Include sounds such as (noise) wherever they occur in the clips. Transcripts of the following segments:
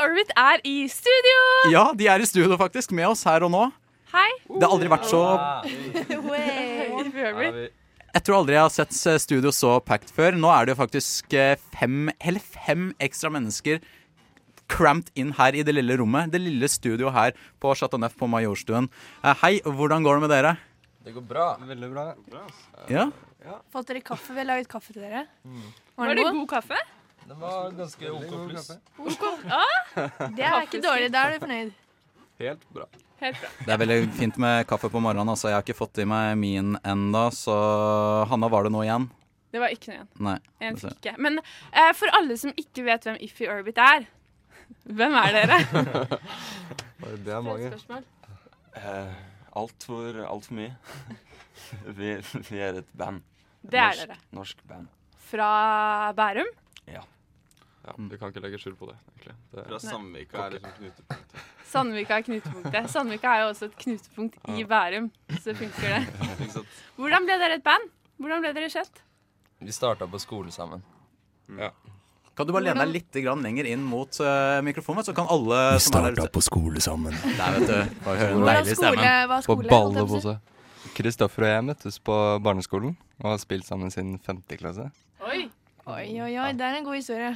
Orbit er i studio! Ja, de er i studio faktisk, med oss her og nå. Hei. Det har aldri vært så Irv Orbit. Jeg tror aldri jeg har sett eh, studio så packed før. Nå er det jo faktisk eh, fem, hele fem ekstra mennesker cramped inn her i det lille rommet. Det lille studioet her på Chateau Neuf på Majorstuen. Eh, Hei, hvordan går det med dere? Det går bra. Veldig bra. Ja? Fått dere kaffe? Vi har laget kaffe til dere. Var det god kaffe? Den var ganske OK pluss. Det er ikke dårlig. Da er du fornøyd. Helt bra. Helt bra. Det er veldig fint med kaffe på morgenen. Altså. Jeg har ikke fått i meg min enda, så Hanna, var det nå igjen? Det var ikke noe igjen. Nei. En Altså. fikk jeg. Men eh, for alle som ikke vet hvem Iffy Orbit er, (laughs) hvem er (laughs) dere? Bare det er mange. Spørsmål. Eh, Altfor alt for mye. (laughs) vi, vi er et band. Det er norsk, dere. Norsk band. Fra Bærum. Ja, du kan ikke legge skjul på det, egentlig. Det Fra Samvika er liksom knutepunkt. Sandvika er knutepunktet. Sandvika er jo også et knutepunkt i Bærum, så funker (laughs) det. Ikke sant? Hvordan ble dere et band? Hvordan ble dere kjent? Vi starta på skole sammen. Kan du bare lene deg litt grann lenger inn mot eh, mikrofonen, så kan alle som er der ute på skole sammen. Der, vet du. Bare høre den Hvordan deilige skole stemmen. var På skole? holdt jeg på å si? Ballebose. Kristoffer og jeg møttes på barneskolen og har spilt sammen siden femte klasse. Oi. Oi, oi, oi. Det er en god historie.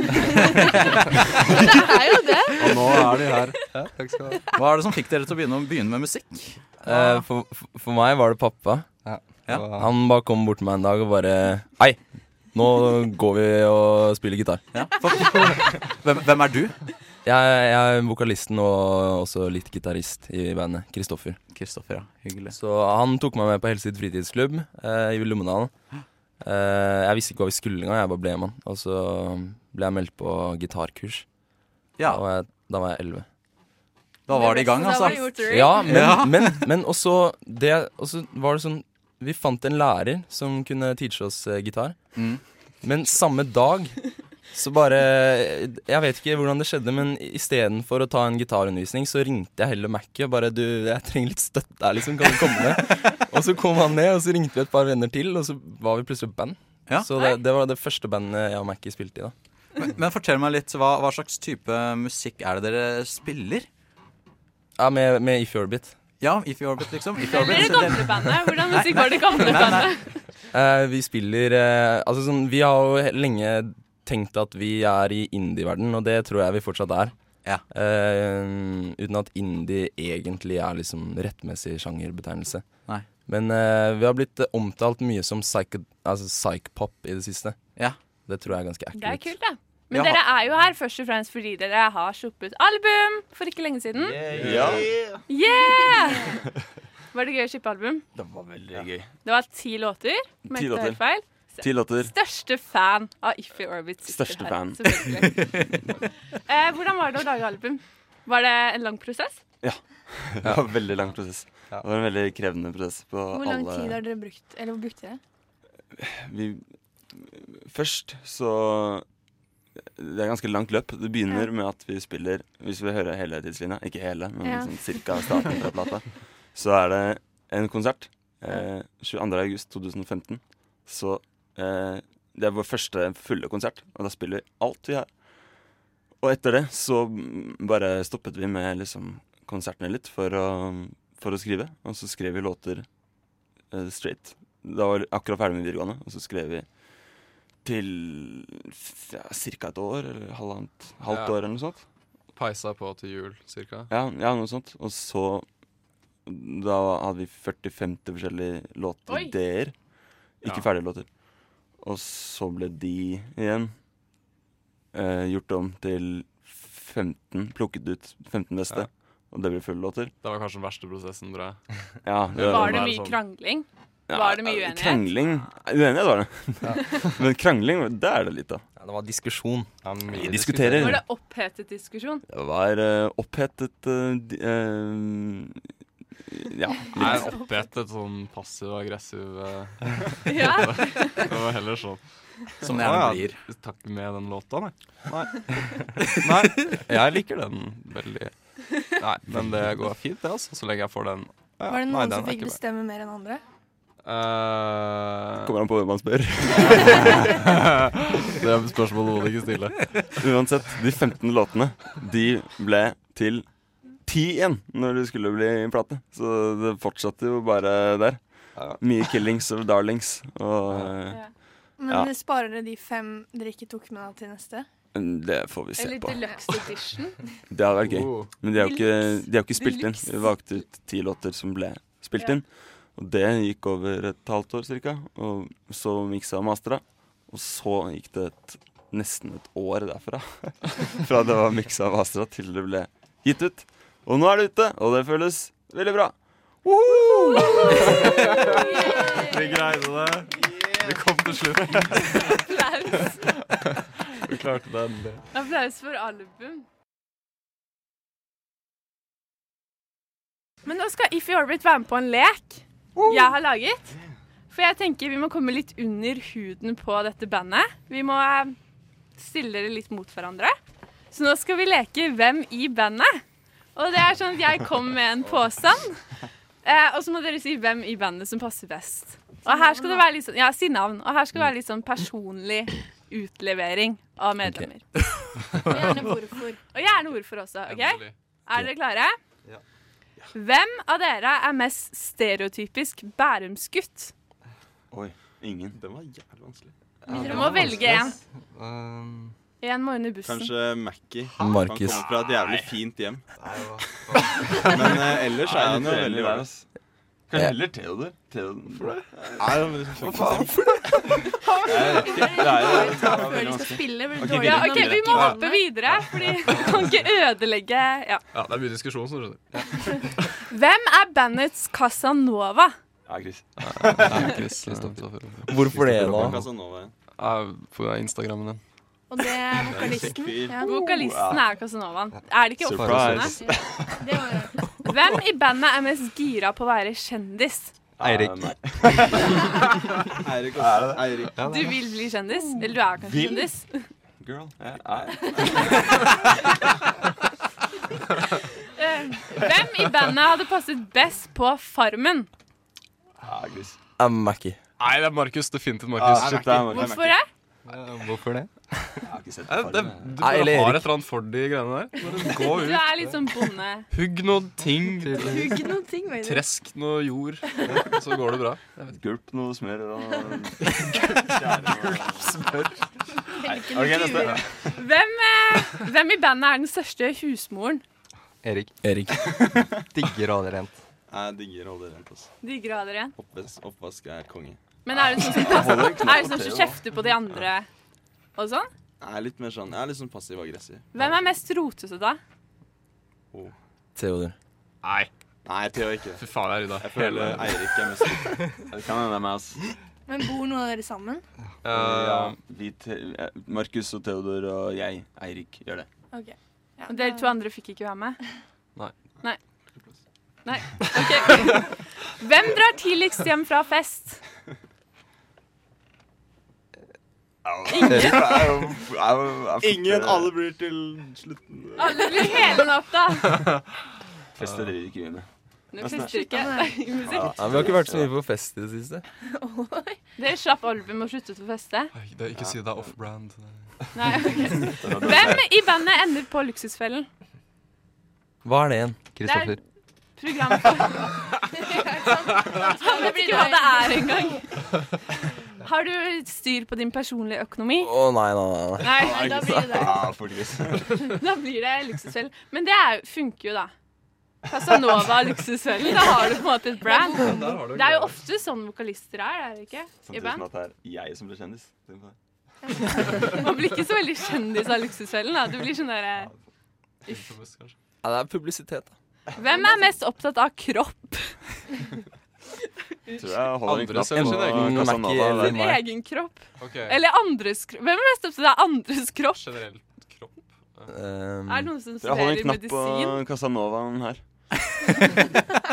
(laughs) det er jo det. Og nå er de her. Ja, takk skal du ha. Hva er det som fikk dere til å begynne, å begynne med musikk? Eh, for, for- for meg var det pappa. Ja. Og han- Han bare kom bort til meg en dag og bare Hei, nå går vi og spiller gitar. Ja. For, hvem, hvem er du? Jeg, jeg er vokalisten og også litt gitarist i bandet. Kristoffer. Kristoffer, ja. Hyggelig. Så han tok meg med på Helseid fritidsklubb eh, i Lommedalen. Eh, jeg visste ikke hva vi skulle engang, jeg bare ble med han. Og så ble jeg meldt på gitarkurs. Ja, Da var jeg, da var jeg 11. da var det i gang, Da var det altså. gjort. Ja, men, Ja. men, men også det Og så var det sånn Vi fant en lærer som kunne teache oss eh, gitar. Mm. Men samme dag så bare Jeg vet ikke hvordan det skjedde, men istedenfor å ta en gitarundervisning, så ringte jeg heller Mac-et. Bare du, jeg trenger litt støtte her, liksom. Kan du komme ned? (laughs) og så kom han ned, og så ringte vi et par venner til, og så var vi plutselig band. Ja. Så det, det var det første bandet jeg og Mac-et spilte i, da. Men, men fortell meg litt, hva, hva slags type musikk er det dere spiller? Ja, med, med If You're Orbit. Ja, If You Orbit, liksom. If You Eller Orbit, det gamle bandet. Hvordan musikk var det gamle Nei, nei. bandet? Eh, vi spiller eh, Altså sånn, vi har jo he- lenge tenkt at vi er i indie-verden, og det tror jeg vi fortsatt er. Ja. Eh, uten at indie egentlig er liksom rettmessig sjangerbetegnelse. Nei. Men eh, vi har blitt eh, omtalt mye som psycho, altså psych-pop i det siste. Ja. Det tror jeg er ganske Det er accurate. kult, da. Men Ja. dere er jo her først og fremst fordi dere har sluppet album for ikke lenge siden. Ja. Yeah! Var det gøy å slippe album? Det var veldig gøy. Det var ti låter. om jeg Ti ikke tar låter. feil. Ti låter. Største fan av Iffy Orbit. sitter Største her, fan. selvfølgelig. eh, hvordan var det å lage album? Var det en lang prosess? Det var en veldig lang prosess. Ja. Det var en veldig krevende prosess på Hvor lang tid alle har dere brukt? Eller hvor brukte dere? vi, Først så Det er ganske langt løp. Det begynner med at vi spiller Hvis vi hører hele tidslinja, ikke hele, men Ja. sånn cirka starten fra plata, så er det en konsert eh, 22. august 2015. Så eh, det er vår første fulle konsert, og da spiller vi alt vi har. Og etter det så mm, bare stoppet vi med liksom konsertene litt for å, for å skrive. Og så skrev vi låter eh, straight. Da var jeg akkurat ferdig med videregående, og så skrev vi til f- ja, ca. et år, eller halvannet, halvt Ja. år eller noe sånt. Peisa på til jul, cirka. Ja, ja, noe sånt. Og så Da hadde vi 40-50 forskjellige Oi. låtideer. Ikke Ja. ferdige låter. Og så ble de igjen eh, gjort om til 15, plukket ut 15 beste. Ja. Og det ble fulle låter. Det var kanskje den verste prosessen, tror jeg. Ja, Var det det var mye sånn. krangling? ja, var det mye uenighet? Krangling Uenighet var det. (laughs) Men krangling, det er det litt av. Ja, det var diskusjon. Ja, mye Vi diskuterer. Var det opphetet diskusjon? Det var eh, opphetet eh, di- eh, Ja. Jeg er opphetet sånn passiv og aggressiv eh, Ja. Det var heller sånn. Som det Å, gjerne ja, blir. Takk med den låta, nei. (laughs) Nei. nei. Jeg liker den veldig Nei, men det går fint, det, altså. Så lenge jeg får den. Ja, Var det nei, noen den som er fikk ikke bra. bestemme mer enn andre? Eh, Kommer an på hvem man spør. det er spørsmålet må du ikke stille. (laughs) Uansett, de 15 låtene De ble til 10 igjen når det skulle bli plate. Så det fortsatte jo bare der. Ja. Mye 'killings og darlings'. Og eh, Ja. Men Ja. dere sparer dere de fem dere ikke tok med da til neste? det får vi se Eller på. deluxe edition. Det hadde vært gøy. Oh. Men de har jo ikke, de har ikke spilt inn. Deluxe. Vi valgte ut ti låter som ble spilt Ja. inn. Og det gikk over et halvt år cirka. Og så miksa og mastra. Og så gikk det et, nesten et år derfra. (laughs) Fra det var miksa og mastra til det ble gitt ut. Og nå er det ute, og det føles veldig bra. Vi greide det. Det kom til slutt. Applaus. Vi klarte det endelig. Applaus for album. Men nå skal If You Orbit være med på en lek jeg har laget. For jeg tenker vi må komme litt under huden på dette bandet. Vi må eh, stille dere litt mot hverandre. Så nå skal vi leke Hvem i bandet? Og det er sånn at jeg kom med en påstand, eh, og så må dere si hvem i bandet som passer best. Og her skal det være litt sånn, ja, si navn. Og her skal det være litt sånn personlig utlevering av medlemmer. Og gjerne hvorfor. Og gjerne hvorfor også. ok? Endelig. Er dere klare? Hvem av dere er mest stereotypisk bærumsgutt? Oi, ingen. Den var jævlig vanskelig. Dere må velge en. Um, En må under bussen. kanskje Mackie. Han Markus. kommer fra et jævlig fint hjem. (laughs) Men eh, ellers er han jo veldig der, ålreit. ass. Kanskje heller Theodor. Theodor. Nei, men liksom sånn- Det er jo før de skal spille. blir det dårlig Ja, ok, når de Vi må ikke hoppe videre, Fordi (laughs) vi kan ikke ødelegge Ja, ja. det er mye diskusjon, så du skjønner. Hvem er bandets Casanova? Ja, Chris. eh, Eh, Hvorfor det, da? Casanova. På Instagrammen din. Og det er vokalisten. Ja. Vokalisten er Casanovaen. Er det ikke oppfordrende? Surprise. Det var Hvem i bandet er mest gira på å være kjendis? Eirik. Ja, nei. Eirik. også. Eirik. Du vil bli kjendis? Eller du er kanskje kjendis? Girl. Ja, nei. Eh, Hvem i bandet hadde passet best på Farmen? Ja, Chris. Er Mackie. Nei, det er Markus. Definitivt Ah, Markus. shit, det er Markus. Hvorfor det? Hvorfor det? Jeg har ikke sett det, det farmen, jeg. du Nei, bare har et eller Erik. eller annet for de greiene der. Bare gå Du ut. er litt sånn bonde. Hugg noe ting. Hugg noen ting, vet du. Tresk noe jord. Så går det bra. Gulp noe smør (laughs) og Hvilken Ok, neste. tur. Hvem, eh, hvem i bandet er den største husmoren? Erik. Erik. Digger radiorent. Jeg digger å holde rent. ass. De grader igjen. Oppvask- Oppvask er konge. Men er det sånn som, er det sånn som kjefter på de andre og sånn? Jeg er litt mer sånn, jeg er litt sånn passiv-aggressiv. Hvem er mest rotete, da? Theodor. Nei, Nei, jeg tror ikke det. fy faen, jeg rydda Jeg hele føler Eirik er mest (laughs) Det kan hende det er meg, ass. Men bor noen av dere sammen? Eh, vi te- eh, Markus og Theodor og jeg, Eirik, gjør det. Ok. Ja, Og dere to andre fikk ikke være med? Nei. Nei. Nei. Ok. Hvem drar tidligst hjem fra fest? Ingen alle blir til slutten. Alle blir hele natta. Fester driver ikke vi med. Nå fester ikke. Musikk. (laughs) Ja, vi har ikke vært så mye på fest i det siste. Dere slapp album og sluttet å feste? Nei, det- Ikke si det er off-brand. Nei, ok. Hvem i bandet ender på Luksusfellen? Hva er det igjen? Kristoffer. Program for Han vet ikke hva det er engang. (laughs) Har du styr på din personlige økonomi? Å nei, nei, nei. nei. Nei, Nei, da blir det det. Ja, (laughs) folkens. da blir det luksusfell. Men det er, jo- funker jo, da. Casanova og luksusfellen, da har du på en måte et brand. Det er jo ofte sånn vokalister er, er det ikke? I Samtidig band. som at det er jeg som blir kjendis. Tenk på det. Man blir ikke så veldig kjendis av luksusfellen, da. Du blir sånn derre Ja, det er publisitet. da. Hvem er mest opptatt av kropp? Jeg Tror jeg holder en Andre knapp ser sin på egen Mackie Casanova eller- der. Din Nei. egen kropp? Ok, Eller andres kropp? Hvem er mest opptatt av andres kropp? generelt kropp. Ehm, Er det noen som Tror jeg holder studerer en knapp på medisin? Casanovaen her.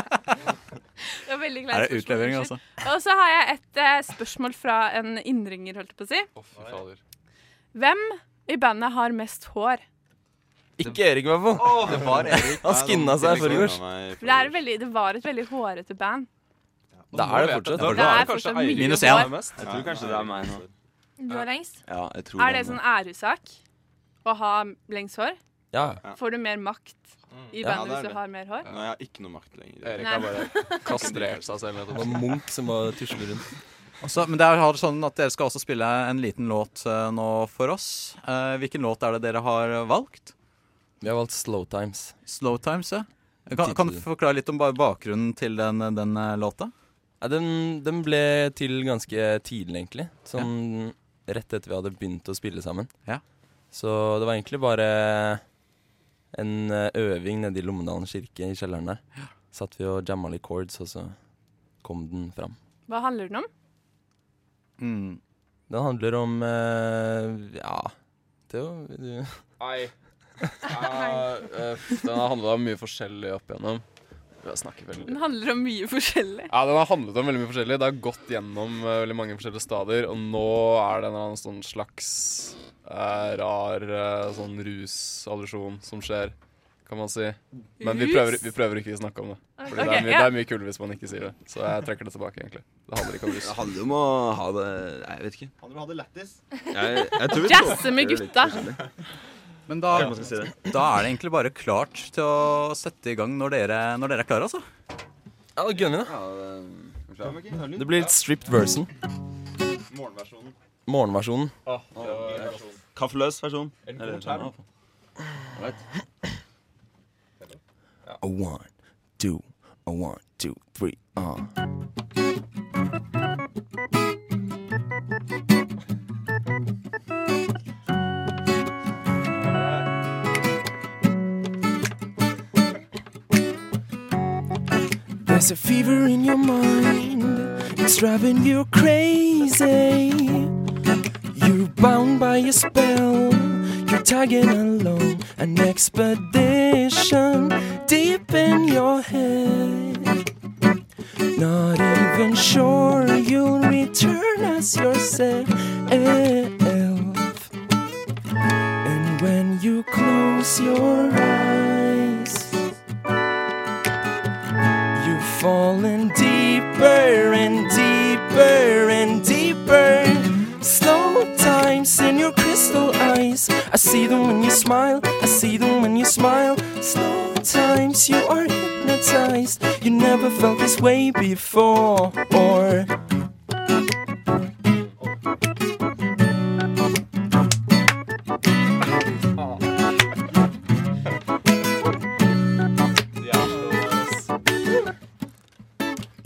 Det var veldig Er kleint det spørsmål, utlevering, unnskyld. altså? Og så har jeg et eh, spørsmål fra en innringer, holdt jeg på å si. Å, fy fader. Hvem i bandet har mest hår? Ikke Erik, i hvert fall. Det var Erik. (laughs) Han skinna seg i forgårs. For det, er et veldig, det var et veldig hårete band. Da er det fortsatt. Det er fortsatt mye Minus hår. én. Jeg tror kanskje det er meg nå. Du har lengst. Ja, jeg tror Er det er sånn meg. æresak å ha lengst hår? Ja. Får du mer makt i Ja, det bandet er hvis det. du har mer hår? Nei, jeg har ikke noe makt lenger. Erik Nei. har bare kastrert seg selv. Det var Munch som var tusler rundt. Også, men det er har sånn at dere skal også spille en liten låt eh, nå for oss. Eh, hvilken låt er det dere har valgt? Vi har valgt Slow Times. Slow Times, ja. Kan, kan du forklare litt om bare bakgrunnen til den, den eh, låta? Ja, den, den ble til ganske tidlig, egentlig. Sånn rett etter vi hadde begynt å spille sammen. Ja. Så det var egentlig bare en eh, øving nede i Lommedalen kirke, i kjelleren der. Satt vi og jamma litt chords, og så kom den fram. Hva handler den om? Mm. Den handler om eh, Ja, det var du Nei. Ja, eh, den har handla om mye forskjellig opp igjennom. Jeg snakker veldig Den handler om mye forskjellig. Ja, den har handlet om veldig mye forskjellig. Det har gått gjennom eh, veldig mange forskjellige stadier, og nå er det en eller annen sånn slags eh, rar eh, sånn rusallusjon som skjer, kan man si. Men vi Rus? prøver, vi prøver ikke å snakke om det. Fordi det, Ok, er mye, ja. det er mye kulere hvis man ikke sier det. Så jeg trekker det tilbake, egentlig. Det handler ikke om rus. Det handler om å ha det Nei, jeg vet ikke. Han vil ha det lættis. Jeg, jeg tror vi Jazze tråkker med litt gutta. forskjellig. Men da, Ja, man skal si det. da er det egentlig bare klart til å sette i gang når dere, når dere er klare, altså. Ja, da gunner vi, da. Ja, det- er du klar? Det blir litt stripped version. Morgenversjonen. Morgenversjonen. Kaffeløs versjon. Eller skjerm. sånn, A one, two, a one, two, three, ah. There's a fever in your mind, it's driving you crazy. You're bound by a spell, you're tagging along an expedition deep in your head. Not even sure you'll return as yourself. And when you close your eyes, You've fallen deeper and deeper and deeper. Slow times in your crystal eyes. I see them when you smile. I see them when you smile. Slow times you are hypnotized. You never felt this way before.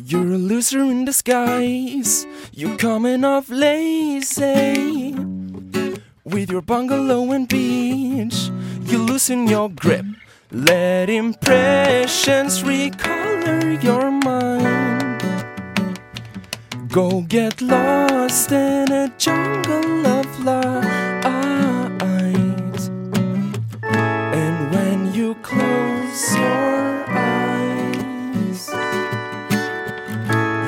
You're a loser in disguise. You're coming off lazy. With your bungalow and beach, you loosen your grip. Let impressions recolor your mind. Go get lost in a jungle of lies. And when you close your eyes,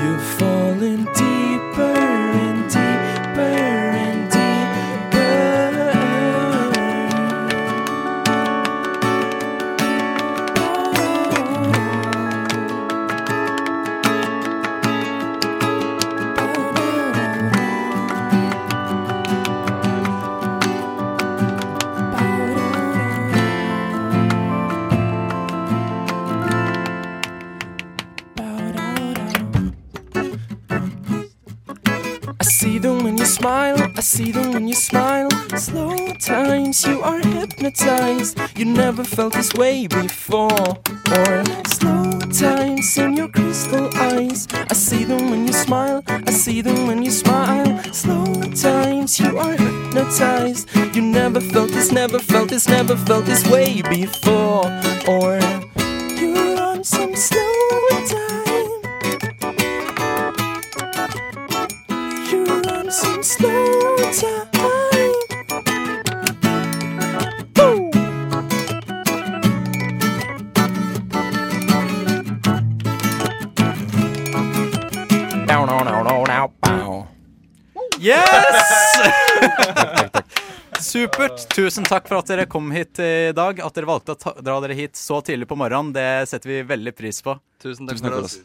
You've fallen deeper and deeper and deeper. I see them when you smile, I see them when you smile. Slow times you are hypnotized. You never felt this way before. Or slow times in your crystal eyes. I see them when you smile, I see them when you smile. Slow times you are hypnotized. You never felt this, never felt this, never felt this way before. Or you're on some slow time. You're on some slow time. Boom. Down, down, down, down, down, bow. Yes! Supert. Tusen takk for at dere kom hit i dag. At dere valgte å ta, dra dere hit så tidlig på morgenen, det setter vi veldig pris på. Tusen takk for oss.